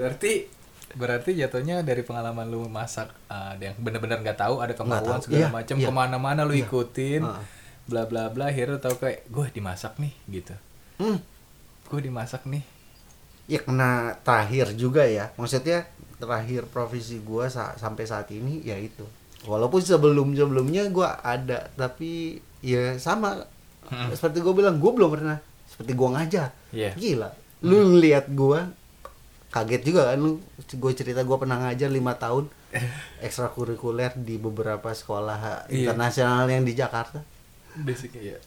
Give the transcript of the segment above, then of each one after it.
Berarti berarti jatuhnya dari pengalaman lu masak ah, ada yang bener-bener nggak tahu ada kemauan tahu. segala Iya, macam iya. kemana-mana lu ikutin Ah. bla bla bla akhirnya lu tahu kayak gue dimasak nih gitu Hmm. gue dimasak nih ya kena terakhir juga ya maksudnya terakhir profesi gua sa- sampai saat ini ya itu walaupun sebelum sebelumnya gua ada tapi ya sama seperti gua bilang gua belum pernah seperti gua ngajar Hmm. Iya. gila lu lihat gua kaget juga kan lu gue cerita gua pernah ngajar lima tahun ekstrakurikuler di beberapa sekolah Iya. internasional yang di Jakarta basicnya ya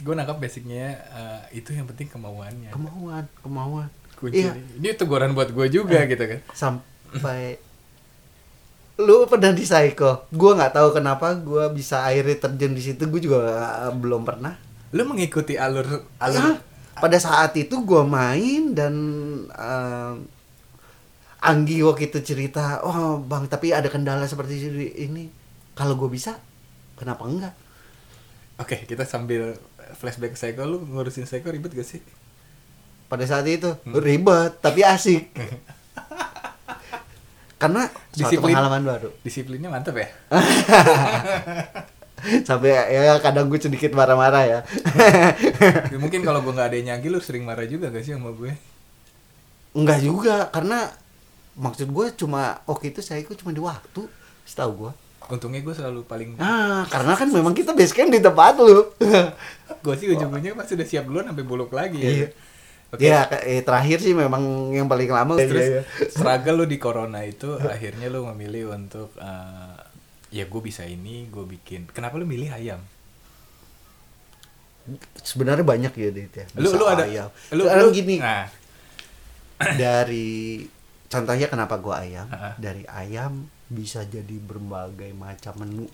gue nangkap basicnya eh, itu yang penting kemauannya kemauan kemauan Eh. kunci Iya. Eh. ini teguran buat gue juga gitu kan sampai lu pernah di psycho gue nggak tahu kenapa gue bisa akhirnya terjun di situ gue juga uh, belum pernah lu mengikuti alur Hah? alur pada saat itu gue main dan um, Anggi waktu itu cerita oh bang tapi ada kendala seperti ini kalau gue bisa kenapa enggak oke kita sambil flashback psycho lu ngurusin psycho ribet gak sih pada saat itu ribet tapi asik karena suatu Disiplin. pengalaman baru disiplinnya mantep ya sampai ya kadang gue sedikit marah-marah ya Eh. mungkin kalau gue nggak ada yang nyagi lu sering marah juga gak sih sama gue Enggak juga, karena maksud gue cuma oke itu saya cuma di waktu, setahu gue. untungnya gue selalu paling Ah, karena kan memang kita base camp di tempat lu. gue sih ujung-ujungnya pas udah siap duluan sampai bolok lagi ya Iya. iya, Oke. Iya, Ya, ke- eh, terakhir sih memang yang paling lama Terus struggle lu di corona itu akhirnya lu memilih untuk eh, ya gue bisa ini, gue bikin. Kenapa lu milih ayam? sebenarnya banyak ya Dit ya. Lu Bisa lu ada ayam. lu Sekarang lu- gini Nah, dari contohnya kenapa gue ayam? Ah. Dari ayam bisa jadi berbagai macam menu.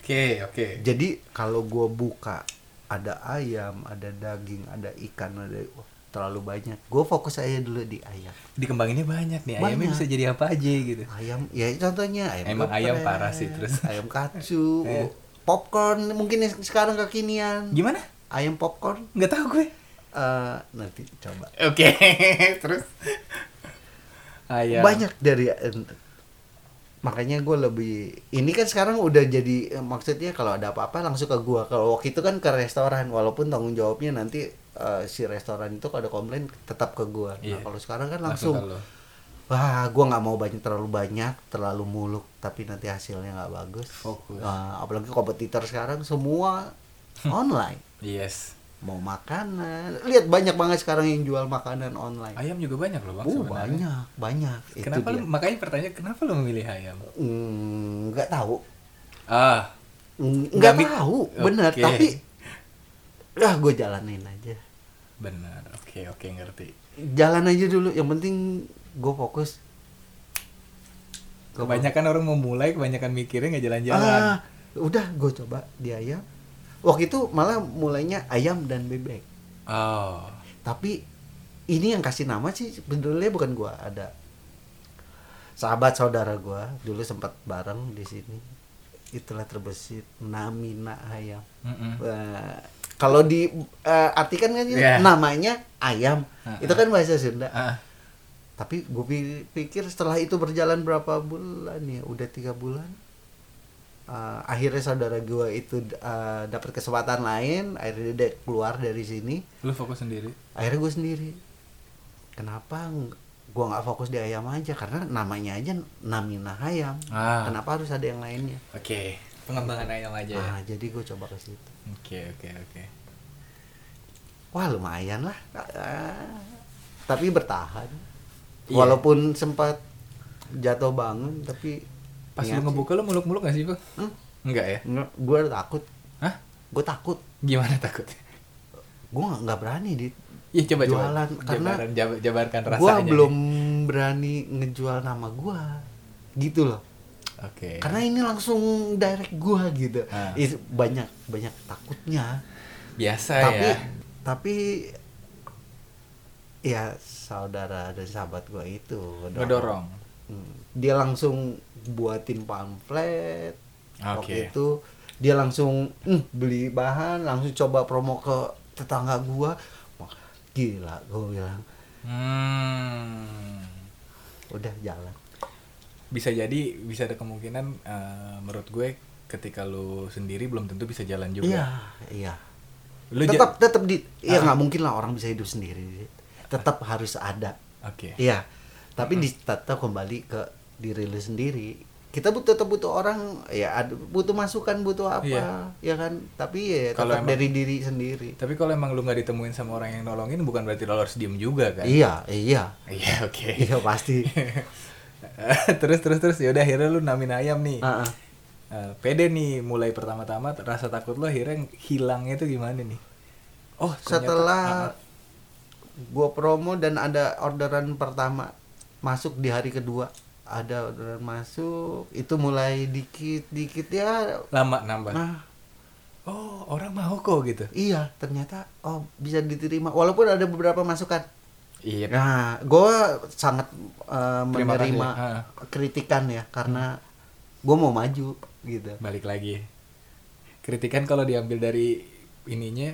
oke, oke. Jadi kalau gue buka ada ayam, ada daging, ada ikan, ada wah, terlalu banyak. Gue fokus aja dulu di ayam. Dikembanginnya banyak nih. Ayamnya Banyak. bisa jadi apa aja gitu. ayam ya contohnya ayam Emang ayam geprek, parah sih, terus. ayam kacu Eh. popcorn mungkin yang sekarang kekinian Gimana? ayam popcorn Nggak tahu gue. eh, nanti coba Oke. Terus ayam. banyak dari eh, makanya gue lebih ini kan sekarang udah jadi eh, maksudnya kalau ada apa-apa langsung ke gue kalau waktu itu kan ke restoran walaupun tanggung jawabnya nanti eh, si restoran itu kalau ada komplain tetap ke gue nah Iya. kalau sekarang kan langsung, ke lu. wah gue nggak mau banyak terlalu banyak terlalu muluk tapi nanti hasilnya nggak bagus Fokus. Nah, apalagi kompetitor sekarang semua online Yes. mau makanan lihat banyak banget sekarang yang jual makanan online Ayam juga banyak loh, Bang. oh sebenarnya. banyak banyak Kenapa itu lu makanya pertanyaan kenapa lu memilih ayam? dia Hmm, nggak tahu Ah, Hmm, Nggak nggak mik- tahu benar Oke. tapi ah gue jalanin aja benar. Oke, oke ngerti. jalan aja dulu yang penting gue fokus Gua fokus. Kebanyakan orang memulai, kebanyakan mikirnya nggak jalan-jalan. Ah, udah gue coba di ayam. Waktu itu malah mulainya ayam dan bebek. Oh, Tapi ini yang kasih nama sih sebenarnya bukan gue ada sahabat saudara gue dulu sempat bareng di sini. Itulah terbesit Namina ayam. Mm-mm. Wah, kalau di eh, artikan kan Iya. namanya ayam. Heeh. Itu kan bahasa Sunda. Ah, Tapi gue pikir setelah itu berjalan berapa bulan ya, udah tiga bulan. Uh, akhirnya saudara gue itu uh, dapat kesempatan lain, akhirnya dia keluar dari sini. lu fokus sendiri. Akhirnya gue sendiri. Kenapa ng- gue nggak fokus di ayam aja? Karena namanya aja Namina Ayam. Ah. Kenapa harus ada yang lainnya? Oke, pengembangan ayam aja. ya. Ah, jadi gue coba ke situ. Oke, oke, oke. Wah lumayan lah. Ah, tapi bertahan. Iya. Walaupun sempat jatuh bangun, tapi Pas lu niat Iya, sih. ngebuka lu muluk-muluk gak sih, Bang? Hmm? Enggak ya? Nggak, gue takut. Hah? Gue takut. Gimana takutnya? Gue nggak nggak berani di. Iya, coba coba. Jualan, karena jabaran, jab- jabarkan Gue rasanya. belum nih. berani ngejual nama gue. Gitu loh. Oke. Karena ini langsung direct gue gitu. Iya. Ah. Itu banyak banyak takutnya. Biasa tapi ya. tapi ya saudara dan sahabat gue itu ngedorong. Ngedorong. Hmm. dia langsung buatin pamflet waktu Oke. itu dia langsung "Hmm, beli bahan langsung coba promo ke tetangga gua Wah, gila gua bilang Hmm. udah jalan bisa jadi bisa ada kemungkinan eh, menurut gue ketika lu sendiri belum tentu bisa jalan iya juga. iya Lu ja- Ah. tetap tetap di ya nggak mungkin lah orang bisa hidup sendiri Dit. tetap harus ada Oke. Iya, tapi Ah. di, tetap kembali ke diri lu sendiri. Kita butuh tetap butuh orang, ya ad- butuh masukan, butuh apa, Iya. ya kan. Tapi ya Kalau tetap emang- dari diri sendiri. Tapi kalau emang lu nggak ditemuin sama orang yang nolongin bukan berarti lu harus diem juga kan? Iya, iya, Iya, oke. iya pasti. terus terus terus ya udah akhirnya lu namin ayam nih. Ah, ah. Eh, pede nih mulai pertama-tama rasa takut lu akhirnya hilangnya itu gimana nih? Oh, ternyata- Setelah gua promo dan ada orderan pertama masuk di hari kedua, ada orderan masuk, itu mulai dikit-dikit ya. lama nambah. Nah, Oh, orang mau kok gitu. iya ternyata oh bisa diterima walaupun ada beberapa masukan. Iya. Nah, gue sangat eh, Terima kasih. menerima Ah. kritikan ya karena gue mau maju gitu. Balik lagi. Kritikan kalau diambil dari ininya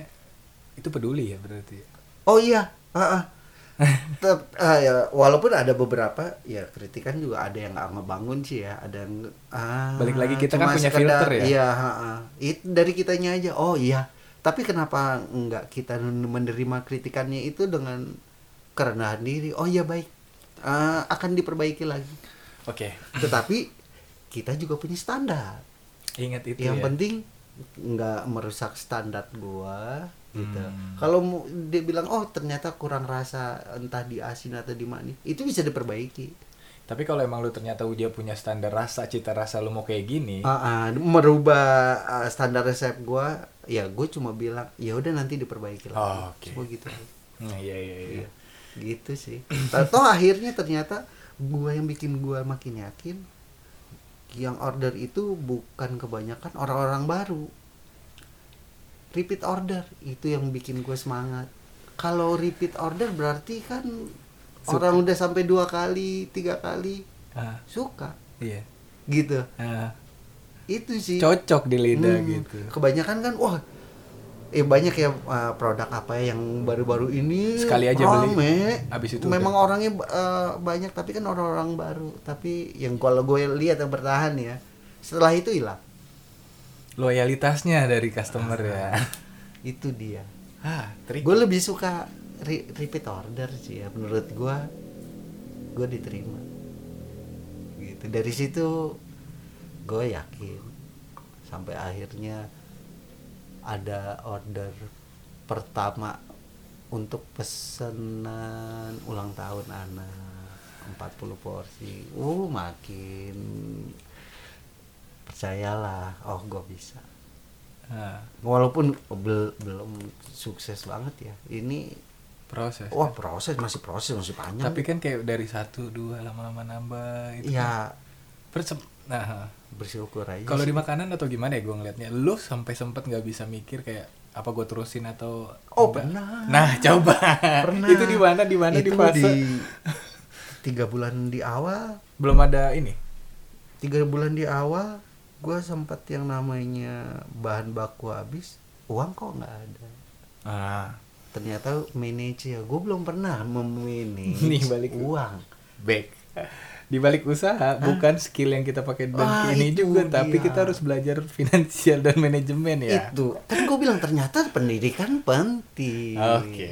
itu peduli ya berarti. Oh iya, ah, ah. Tep- ah, ya, walaupun ada beberapa ya kritikan juga ada yang nggak ngebangun sih ya, ada yang ah, Balik lagi, kita kan cuma punya sekedar, filter ya? Iya, ah, ah. It- dari kitanya aja. Oh iya, tapi kenapa nggak kita menerima kritikannya itu dengan kerendahan diri? Oh iya baik, Ah, akan diperbaiki lagi. Oke. Tetapi kita juga punya standar. Ingat itu yang ya. penting nggak merusak standar gua gitu Hmm. kalau mu- dia bilang oh ternyata kurang rasa entah di asin atau di manis itu bisa diperbaiki Tapi kalau emang lu ternyata udah punya standar rasa, cita rasa lu mau kayak gini, Ah, ah, merubah ah, standar resep gua ya gue cuma bilang ya udah nanti diperbaiki lah Oh, oke. Cuma gitu Nah, iya iya iya. Iya. gitu sih atau akhirnya ternyata gua yang bikin gua makin yakin yang order itu bukan kebanyakan orang-orang baru repeat order itu yang bikin gue semangat kalau repeat order berarti kan Suka. orang udah sampai dua kali tiga kali Ah, suka iya. gitu Ah, itu sih cocok di lidah Hmm, gitu. Kebanyakan kan wah eh banyak ya uh, produk apa ya yang baru-baru ini Sekali aja beli. rame. Habis itu memang orangnya uh, banyak tapi kan orang-orang baru tapi yang kalau gue lihat yang bertahan ya setelah itu hilang Loyalitasnya dari customer ya. Ah. itu dia Ah, trik. gue lebih suka re- repeat order sih ya menurut gue gue diterima gitu dari situ gue yakin sampai akhirnya ada order pertama untuk pesanan ulang tahun anak 40 porsi uh makin percayalah oh gue bisa Ah, walaupun bel- belum sukses banget ya ini proses. wah proses masih proses masih panjang Tapi kan kayak dari satu dua lama-lama nambah itu. ya Persem. Nah, bersyukur aja kalau Iya di sih. makanan atau gimana ya gue ngeliatnya lu sampai sempet nggak bisa mikir kayak apa gue terusin atau Oh, enggak? pernah. nah coba pernah itu di mana di mana di Itu fase di- tiga bulan di awal belum ada ini tiga bulan di awal gue sempat yang namanya bahan baku habis uang kok nggak ada ah ternyata manage ya gue belum pernah memanage Nih, balik. uang back di balik usaha bukan skill yang kita pakai dan Wah, ini itu juga tapi dia. kita harus belajar finansial dan manajemen ya itu kan gue bilang ternyata pendidikan penting Oke.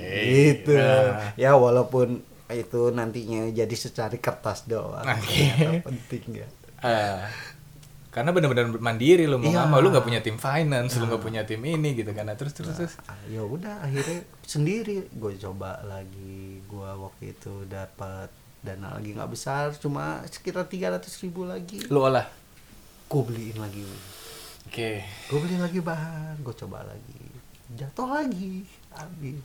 gitu Nah. ya walaupun itu nantinya jadi secari kertas doang Oke. ternyata penting ya Ah, karena benar-benar mandiri lu mau Iya. nggak mau lu nggak punya tim finance lu nggak punya tim ini gitu kan Nah, terus terus terus Ah, ya udah akhirnya sendiri gue coba lagi gue waktu itu dapat dana lagi nggak besar cuma sekitar 300 ribu lagi lu olah gue beliin lagi oke gue beli lagi bahan gue coba lagi jatuh lagi habis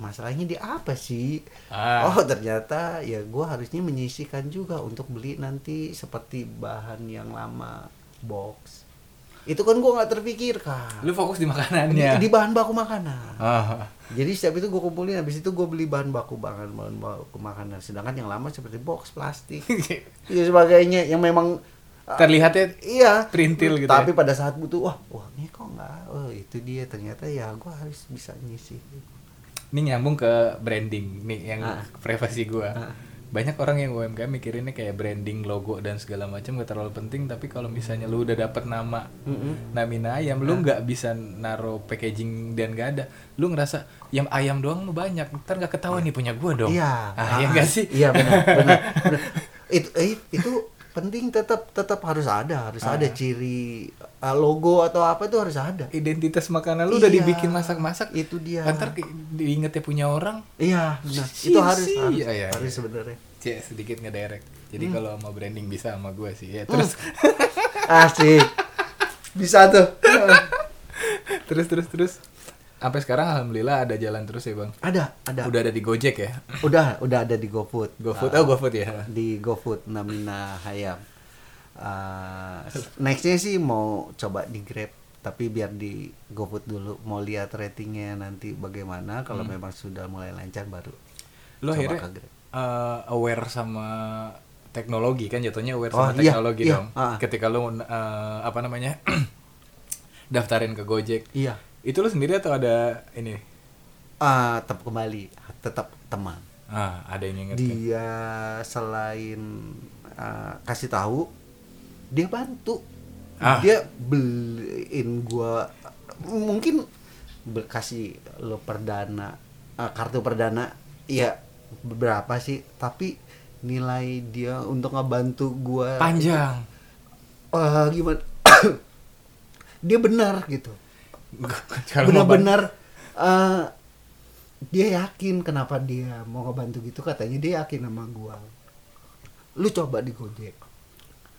masalahnya di apa sih Ah. oh ternyata ya gue harusnya menyisihkan juga untuk beli nanti seperti bahan yang lama box itu kan gue nggak terpikirkan lu fokus di di, makanannya di bahan baku makanan Iya. Ah. jadi setiap itu gue kumpulin habis itu gue beli bahan baku bahan bahan baku makanan sedangkan yang lama seperti box plastik ya sebagainya yang memang Kan uh, terlihatnya Iya. Perintil gitu Tapi ya? pada saat butuh, wah, uangnya kok nggak? Oh, itu dia ternyata ya gua harus bisa ngisi. ini nyambung ke branding nih yang Ah. privasi gua Ah. banyak orang yang UMKM mikirinnya kayak branding logo dan segala macam gak terlalu penting tapi kalau misalnya lu udah dapet nama namina ayam Ah. lu nggak bisa naro packaging dan gak ada lu ngerasa yang ayam doang mah banyak ntar nggak ketahuan nih punya gua dong Iya. ah, ya nggak sih Iya benar, benar. benar. Itu eh, itu penting tetap tetap harus ada, harus Ah. ada ciri eh, logo atau apa itu harus ada. identitas makanan lu udah Iya. dibikin masak-masak Itu dia. ntar ke- diingetnya punya orang Iya, benar. Sih, Itu harus sih. harus, Iya, iya, iya. harus sebenarnya. Cie, sedikit ngederek jadi Hmm. kalau mau branding bisa sama gua sih ya terus Asik. Bisa tuh. terus terus terus sampai sekarang alhamdulillah ada jalan terus ya bang ada, ada. Udah udah ada di Gojek ya udah, ada di GoFood. GoFood Ah, oh GoFood ya di GoFood Namina Hayam. Ah, nextnya sih mau coba di Grab tapi biar di GoFood dulu mau lihat ratingnya nanti bagaimana kalau memang sudah mulai lancar baru lo Oh, coba akhirnya ke Grab. eh, aware sama teknologi kan jatuhnya aware Oh, sama iya, teknologi iya, dong ah. ketika lo eh, apa namanya daftarin ke Gojek Iya. itu lo sendiri atau ada ini Ah, tetap kembali tetap teman. ah ada yang ngingetin Dia selain ah, kasih tahu dia bantu. Ah. Dia beliin gua mungkin berkasih lo perdana ah, kartu perdana ya berapa sih tapi nilai dia untuk ngebantu Ah. gua panjang eh, gimana dia benar gitu Kalau mau ban- benar-benar eh, dia yakin kenapa dia mau ngebantu gitu katanya dia yakin sama gua lu coba di Gojek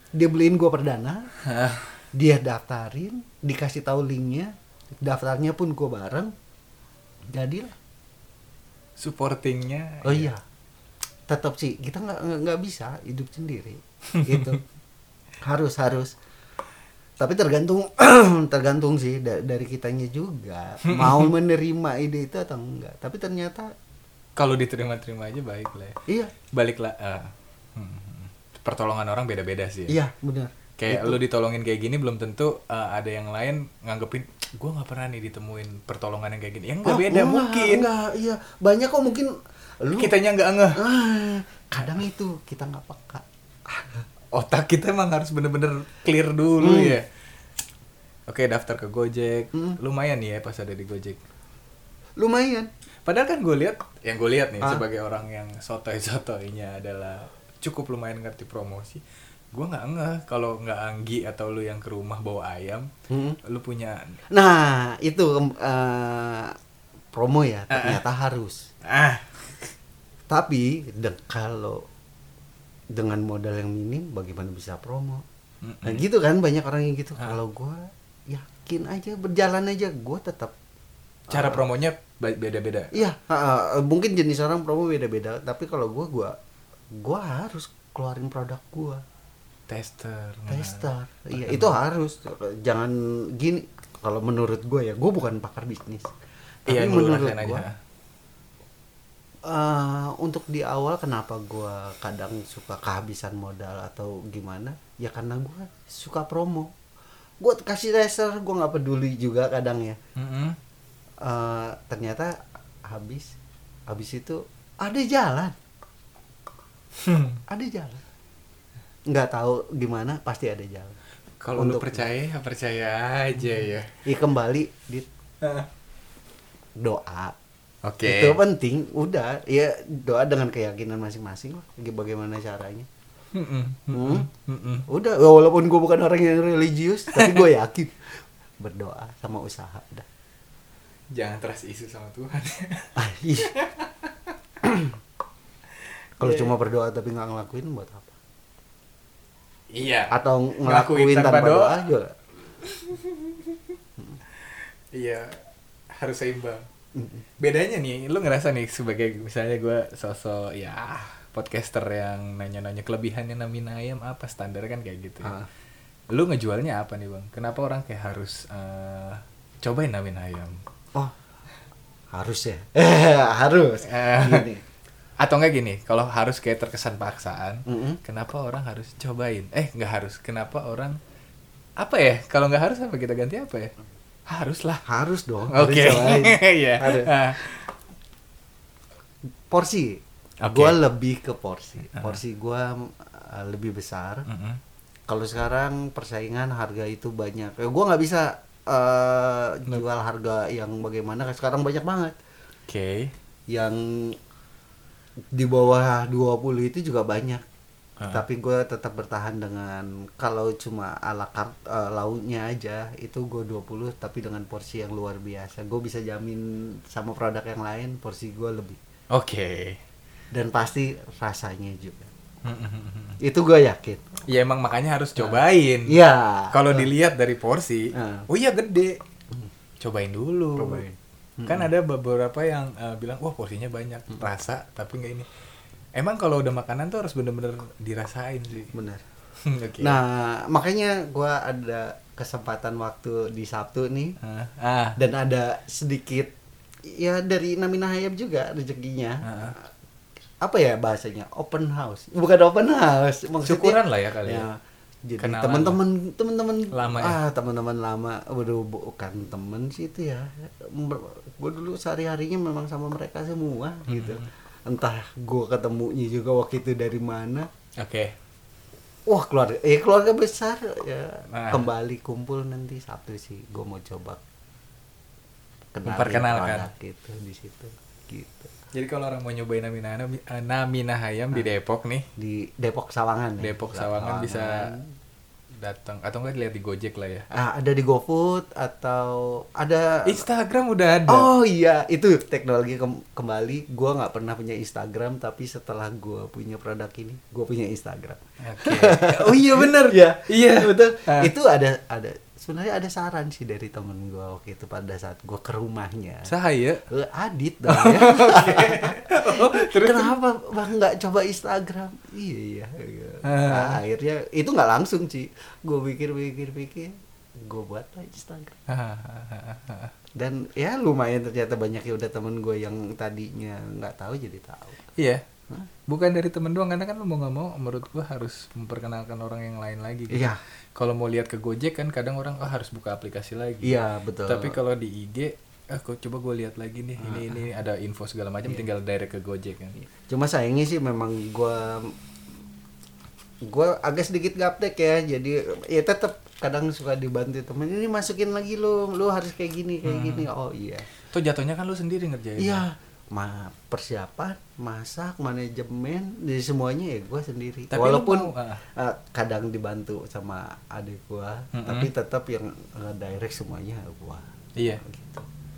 dia beliin gua perdana Ah, dia daftarin dikasih tahu linknya daftarnya pun gua bareng jadilah supportingnya oh iya tetap sih kita nggak nggak- nggak bisa hidup sendiri gitu harus harus tapi tergantung tergantung sih da- dari kitanya juga mau menerima ide itu atau enggak tapi ternyata kalau diterima-terima aja baik lah ya. iya baliklah eh, hmm, pertolongan orang beda-beda sih ya. iya benar Kayak lu ditolongin kayak gini belum tentu uh, ada yang lain nganggepin gue nggak pernah nih ditemuin pertolongan yang kayak gini. Ya nggak Oh, beda enggak, mungkin. enggak, iya banyak kok mungkin lu Kitanya nggak ngeh. Ah, kadang itu kita nggak peka Otak kita emang harus bener-bener clear dulu ya. Oke daftar ke Gojek. Lumayan nih ya pas ada di Gojek. lumayan Padahal kan gue lihat, yang gue lihat nih sebagai orang yang sotoy-sotoynya adalah cukup lumayan ngerti promosi. Gue nggak ngeh kalau nggak Anggi atau lu yang ke rumah bawa ayam, lu punya nah itu eh, promo ya ternyata Eh, harus ah Tapi de- kalau dengan modal yang minim bagaimana bisa promo? Mm-mm. Nah, gitu kan banyak orang yang gitu. Kalau gua yakin aja berjalan aja gua tetap cara Ah. promonya ba- beda-beda. iya, ha, ha, mungkin jenis orang promo beda-beda, tapi kalau gua gua gua harus keluarin produk gua. tester Tester. Iya, itu harus. Jangan gini kalau menurut gua ya, gua bukan pakar bisnis. Tapi iya lu menurut rasain gua aja Eh, untuk di awal kenapa gua kadang suka kehabisan modal atau gimana ya karena gua suka promo Gua kasih laser gua nggak peduli juga kadang ya Mm-mm. Eh, ternyata habis habis itu ada jalan ada jalan nggak tahu gimana pasti ada jalan kalau lu Untuk- percaya ya percaya aja ya ya kembali di oke doa itu penting udah ya doa dengan keyakinan masing-masing lah bagaimana caranya Mm-mm. Hmm? Mm-mm. Udah, ya walaupun gue bukan orang yang religius, tapi gue yakin berdoa sama usaha. Udah. jangan trust isu sama Tuhan Ah, ih. Kalau cuma berdoa tapi nggak ngelakuin buat apa? iya Atau Ngelakuin ngelakuin tanpa tanpa, doa. doa, ya juga? iya harus seimbang bedanya nih lu ngerasa nih sebagai misalnya gue sosok ya podcaster yang nanya-nanya kelebihannya namin ayam apa standar kan kayak gitu ya. Ah. lu ngejualnya apa nih bang kenapa orang kayak harus eh, cobain namin ayam Oh, harus ya, Eh, harus. Eh. Gini. Atau enggak gini, kalau harus kayak terkesan paksaan, Mm-mm. kenapa orang harus cobain? Eh, nggak harus. Kenapa orang apa ya? Kalau nggak harus apa kita ganti apa ya? Haruslah. Iya. Ah. Harus dong. harus Oke. cobain. Iya. Harus. Ah, Porsi. Oke. Gua lebih ke porsi. Porsi gua uh, lebih besar. Mm-mm. Kalau sekarang persaingan harga itu banyak. Ya, gua nggak bisa uh, jual harga yang bagaimana. Sekarang banyak banget Oke. yang di bawah 20 itu juga banyak. Ah. Tapi gua tetap bertahan dengan kalau cuma ala carte uh, lauknya aja itu gue 20 tapi dengan porsi yang luar biasa. Gue bisa jamin sama produk yang lain porsi gua lebih Oke. dan pasti rasanya juga. Mm-mm. Itu gue yakin. Ya emang makanya harus cobain. Iya. Kalau dilihat dari porsi, Ah. oh iya gede. Cobain dulu. Cobain. Kan ada beberapa yang eh, bilang, wah porsinya banyak, rasa tapi nggak ini. Emang kalau udah makanan tuh harus bener-bener dirasain sih. Benar. Oke. Nah, makanya gua ada kesempatan waktu di Sabtu nih Ah, ah. dan ada sedikit ya dari Namina Hayab juga rezekinya. Heeh. Apa ya bahasanya? Open house. Bukan open house, maksudnya syukuran lah ya kali ya. Jadi Kenalan. teman-teman teman-teman Lama ya? ah teman-teman lama waduh bukan temen sih itu ya gue dulu sehari harinya memang sama mereka semua gitu Hmm. entah gue ketemunya juga waktu itu dari mana Oke. wah keluarga eh keluarga besar ya Nah. kembali kumpul nanti sabtu sih gue mau coba kenalin Memperkenalkan. produk gitu di situ gitu Jadi kalau orang mau nyobain Namina Namina Hayam di Depok nih, di Depok Ah. Sawangan ya? Depok Sawangan bisa datang atau enggak lihat di Gojek lah ya. Ah, ada di GoFood atau ada Instagram udah ada. Ah. Oh iya, itu teknologi kem- kembali. Gua nggak pernah punya Instagram, tapi setelah gua punya produk ini, gua punya Instagram. Oke. Oh iya bener Iya, Iya. betul. Ah. Itu ada ada sebenarnya ada saran sih dari temen gua waktu itu pada saat gua ke rumahnya. Sahaya. Eh, Adit dong ya. Oh, iya. Oh. terus Kenapa bang nggak coba Instagram? Iya, iya. iya. Ah. Nah, akhirnya itu nggak langsung sih. Gua pikir-pikir-pikir, gua buat lah Instagram. dan ya lumayan ternyata banyak ya udah temen gue yang tadinya nggak tahu jadi tahu Iya. Bukan dari temen doang karena kan lu mau nggak mau menurut gua harus memperkenalkan orang yang lain lagi gitu. Iya. Kalau mau lihat ke Gojek kan kadang orang oh harus buka aplikasi lagi. iya betul Tapi kalau di IG eh kok coba gue lihat lagi nih ini ini Ah. ada info segala Iya. macam tinggal direct ke Gojek kan. cuma sayangnya sih memang gue gue agak sedikit gaptek ya jadi ya tetap kadang suka dibantu temen ini masukin lagi lu lu harus kayak gini Hmm. kayak gini oh iya Tuh jatuhnya kan lu sendiri ngerjain. iya ma persiapan masak manajemen jadi semuanya ya gue sendiri Tapi lu walaupun mau, ah. eh, kadang dibantu sama adik gue tapi tetap yang eh, direct semuanya gue Iya.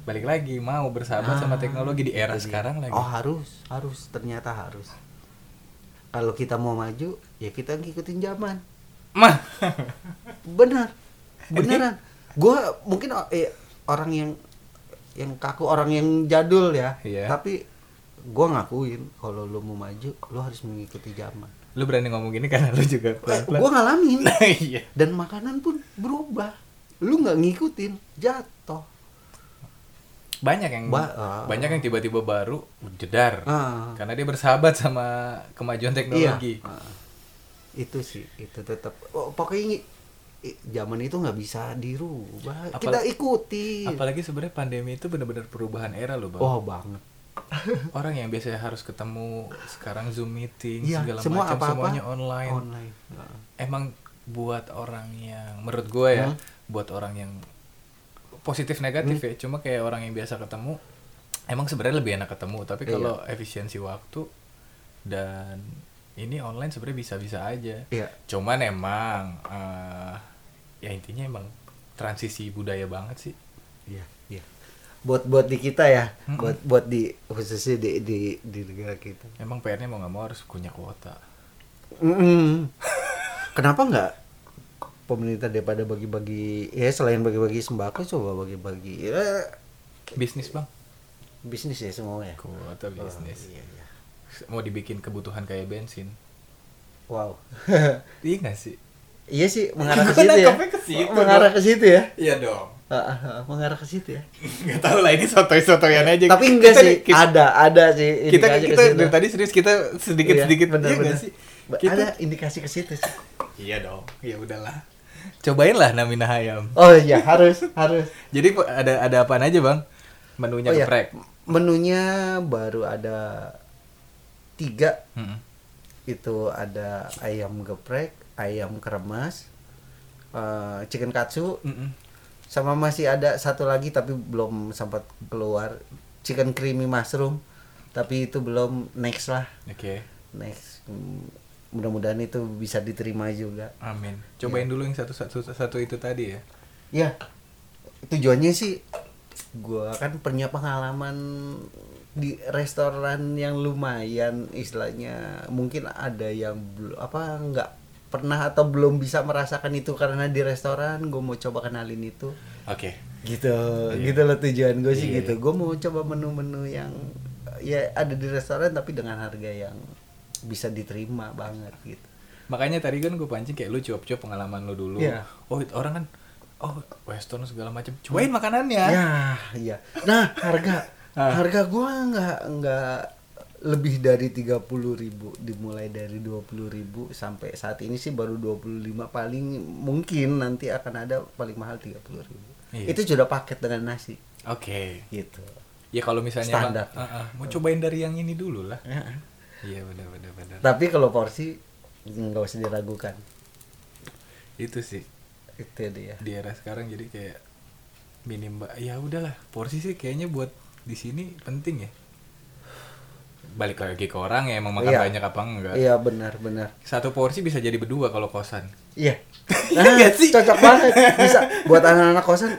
Balik lagi mau bersahabat Ah. sama teknologi di era sekarang lagi. Oh harus, harus ternyata harus. Kalau kita mau maju, ya kita ngikutin zaman. Mah. Benar, beneran. Gua mungkin o- eh, orang yang yang kaku, orang yang jadul ya. Iya. Tapi gua ngakuin kalau lu mau maju, lu harus mengikuti zaman. Eh, lu berani ngomong gini karena lu juga Gua pelan-pelan. ngalamin Nah, iya. dan makanan pun berubah. Lu nggak ngikutin, jatuh. Banyak yang Ba- ah. banyak yang tiba-tiba baru jedar. Ah. Karena dia bersahabat sama kemajuan teknologi. Iya. Heeh. Itu sih, itu tetap oh, pokoknya i- zaman itu nggak bisa dirubah. Apal- Kita ikuti. Apalagi sebenarnya pandemi itu benar-benar perubahan era loh, Bang. Iya. Oh banget. Orang yang biasanya harus ketemu sekarang Zoom meeting Iya, segala semua macam apa-apa semuanya online. Online. Ah, Heeh. Emang buat orang yang menurut gue ya, Hmm? buat orang yang positif negatif ya, cuma kayak orang yang biasa ketemu emang sebenarnya lebih enak ketemu, tapi Iya. kalau efisiensi waktu dan ini online sebenarnya bisa-bisa aja. Iya. Cuman emang eh, ya intinya emang transisi budaya banget sih. Iya, iya. Buat buat di kita ya, buat buat di khususnya di di di negara kita. Emang PR-nya mau nggak mau harus punya kuota. Mm-mm. Kenapa nggak pemerintah daripada bagi-bagi ya selain bagi-bagi sembako coba bagi-bagi ya, Bisnis, Bang. bisnis ya semua ya. Kuota bisnis. Iya, iya. Mau dibikin kebutuhan kayak bensin. Wow. Iya nggak sih? Iya sih mengarah ke Gua situ ya. nangkepnya ke situ, Mengarah ke situ ya. Iya dong. Ah, ah, ah, mengarah ke situ ya. Gak tau lah ini sotoy-sotoyan aja. Tapi Ya, enggak Kita- sih, Kita, ada ada sih kita, indikasi kita ke situ. dari tadi serius kita sedikit-sedikit Iya, benar, iya nggak benar. sih? Ba- Kita- Ada indikasi ke situ sih. Iya dong. Ya udahlah. Cobain lah Namina Hayam. Oh iya, harus, harus. Jadi po- ada ada iya, apaan aja bang? Menunya Oh iya, geprek. Menunya baru ada tiga Mm-mm. itu ada ayam geprek ayam kremes eh, chicken katsu Mm-mm. sama masih ada satu lagi tapi belum sempat keluar chicken creamy mushroom tapi itu belum next lah Oke. next Hmm, mudah-mudahan itu bisa diterima juga Amin. Iya. Cobain dulu yang satu, satu satu itu tadi ya. ya tujuannya sih gua kan punya pengalaman di restoran yang lumayan istilahnya mungkin ada yang belum apa nggak pernah atau belum bisa merasakan itu karena di restoran gue mau coba kenalin itu Oke. gitu gitu loh tujuan gue sih gitu gue mau coba menu-menu yang ya ada di restoran tapi dengan harga yang bisa diterima banget gitu Makanya tadi kan gue pancing kayak lu cuap-cuap pengalaman lu dulu. Iya. Oh, itu orang kan oh, western segala macam. Cobain makanannya. Ya, Hmm. iya. Nah, harga Ah. harga gua nggak nggak lebih dari 30.000 dimulai dari 20.000 sampai saat ini sih baru 25 paling mungkin nanti akan ada paling mahal 30.000. Iya. Itu sudah paket dengan nasi Oke. gitu. Ya kalau misalnya Standar. Mak, ah, ah, mau cobain dari yang ini dulu lah. Iya, benar benar benar. Tapi kalau porsi nggak usah diragukan. Itu sih Itu dia. di era sekarang jadi kayak minim ba- ya udahlah porsi sih kayaknya buat di sini penting ya balik lagi ke orang ya emang makan Iya. banyak apa enggak Iya, benar benar. satu porsi bisa jadi berdua kalau kosan Iya. Iya Nah, nggak sih? cocok banget. Bisa buat anak-anak kosan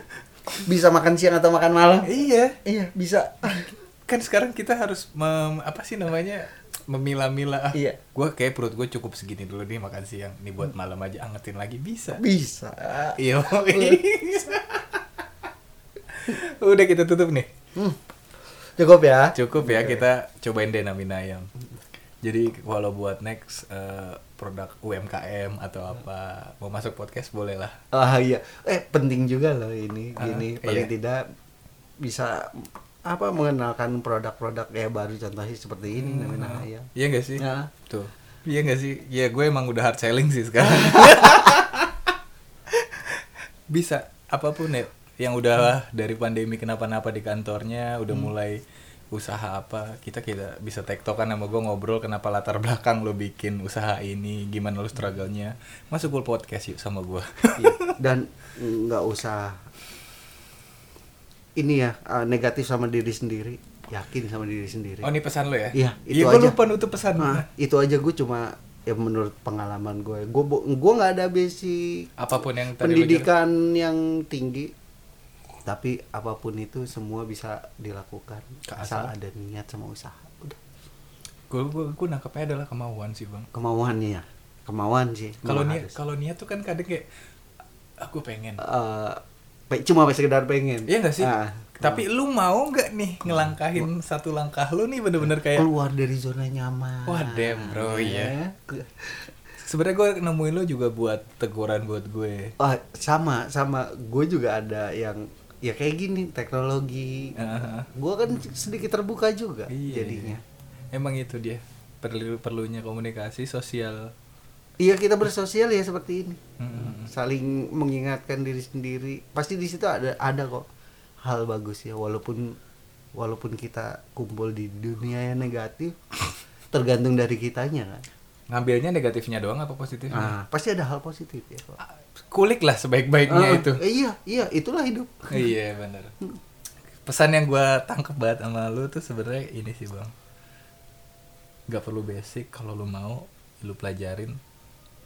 bisa makan siang atau makan malam. iya Iya, bisa. kan sekarang kita harus mem- apa sih namanya memilah-milah ah, Iya. gue kayak perut gue cukup segini dulu nih makan siang ini buat malam aja angetin lagi bisa Bisa. iya udah kita tutup nih Hmm. Cukup ya. cukup ya kita cobain deh Nami ayam jadi kalau buat next eh, produk UMKM atau apa mau masuk podcast boleh lah Ah iya. Eh penting juga loh ini. Ah, ini iya. paling tidak bisa apa mengenalkan produk-produk ya baru contohnya seperti ini namanya ya. iya gak sih Ya. tuh iya gak sih ya gue emang udah hard selling sih sekarang bisa apapun ya yang udah dari pandemi kenapa-napa di kantornya udah Hmm. mulai usaha apa kita kita bisa tektokan sama gue ngobrol kenapa latar belakang lo bikin usaha ini gimana lo struggle-nya masuk full podcast yuk sama gue Iya. Dan nggak usah ini ya eh, negatif sama diri sendiri. Yakin sama diri sendiri. Oh ini pesan lo ya? Iya, itu Iya gue aja. lupa nutup pesan. Ah, itu aja gue cuma ya menurut pengalaman gue. Gue bo- gue nggak ada basic Apapun yang tadi lo pendidikan yang tinggi tapi apapun itu semua bisa dilakukan asal ada niat sama usaha udah Gue gue gue nangkepnya adalah kemauan sih bang. kemauannya ya kemauan sih Kalau memang niat harus. kalau niat tuh kan kadang kayak aku pengen. Eh, pe- cuma sekedar pengen Iya gak sih? Ah, Tapi lu mau nggak nih ngelangkahin satu langkah lu nih bener-bener kayak keluar dari zona nyaman Wah, damn, bro, iya. Ya. sebenarnya gue nemuin lu juga buat teguran buat gue. Wah, ah, sama sama gue juga ada yang ya kayak gini teknologi Ah, gue kan sedikit terbuka juga Iya. jadinya Emang itu dia perlu perlunya komunikasi sosial. Iya kita bersosial ya seperti ini, Mm-mm. saling mengingatkan diri sendiri. Pasti di situ ada ada kok hal bagus ya walaupun walaupun kita kumpul di dunia yang negatif, tergantung dari kitanya kan. Ngambilnya negatifnya doang apa positifnya? Nah pasti ada hal positif ya. kok. Kulik lah sebaik-baiknya Ah, itu. eh, Iya iya itulah hidup. iya bener pesan yang gue tangkep banget sama lu tuh sebenarnya ini sih bang nggak perlu basic kalau lu mau lu pelajarin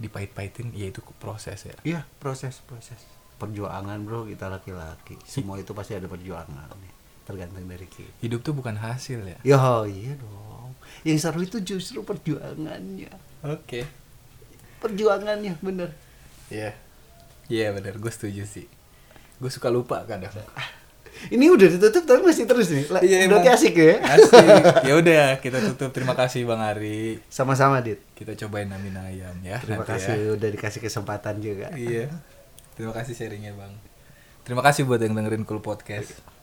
dipait-paitin ya itu proses ya Iya proses proses perjuangan bro kita laki-laki. Semua itu pasti ada perjuangan ya. tergantung dari kita. hidup tuh bukan hasil ya Ya iya dong. Yang seru itu justru perjuangannya. oke Perjuangannya bener. iya iya bener gue setuju sih gue suka lupa kadang Ini udah ditutup tapi masih terus nih. Lah, Iya, Berarti emang. asik ya. asik ya udah kita tutup terima kasih bang Ari Sama-sama, Dit. kita cobain namin ayam ya Terima nanti kasih ya. udah dikasih kesempatan juga. iya terima kasih sharingnya bang terima kasih buat yang dengerin cool podcast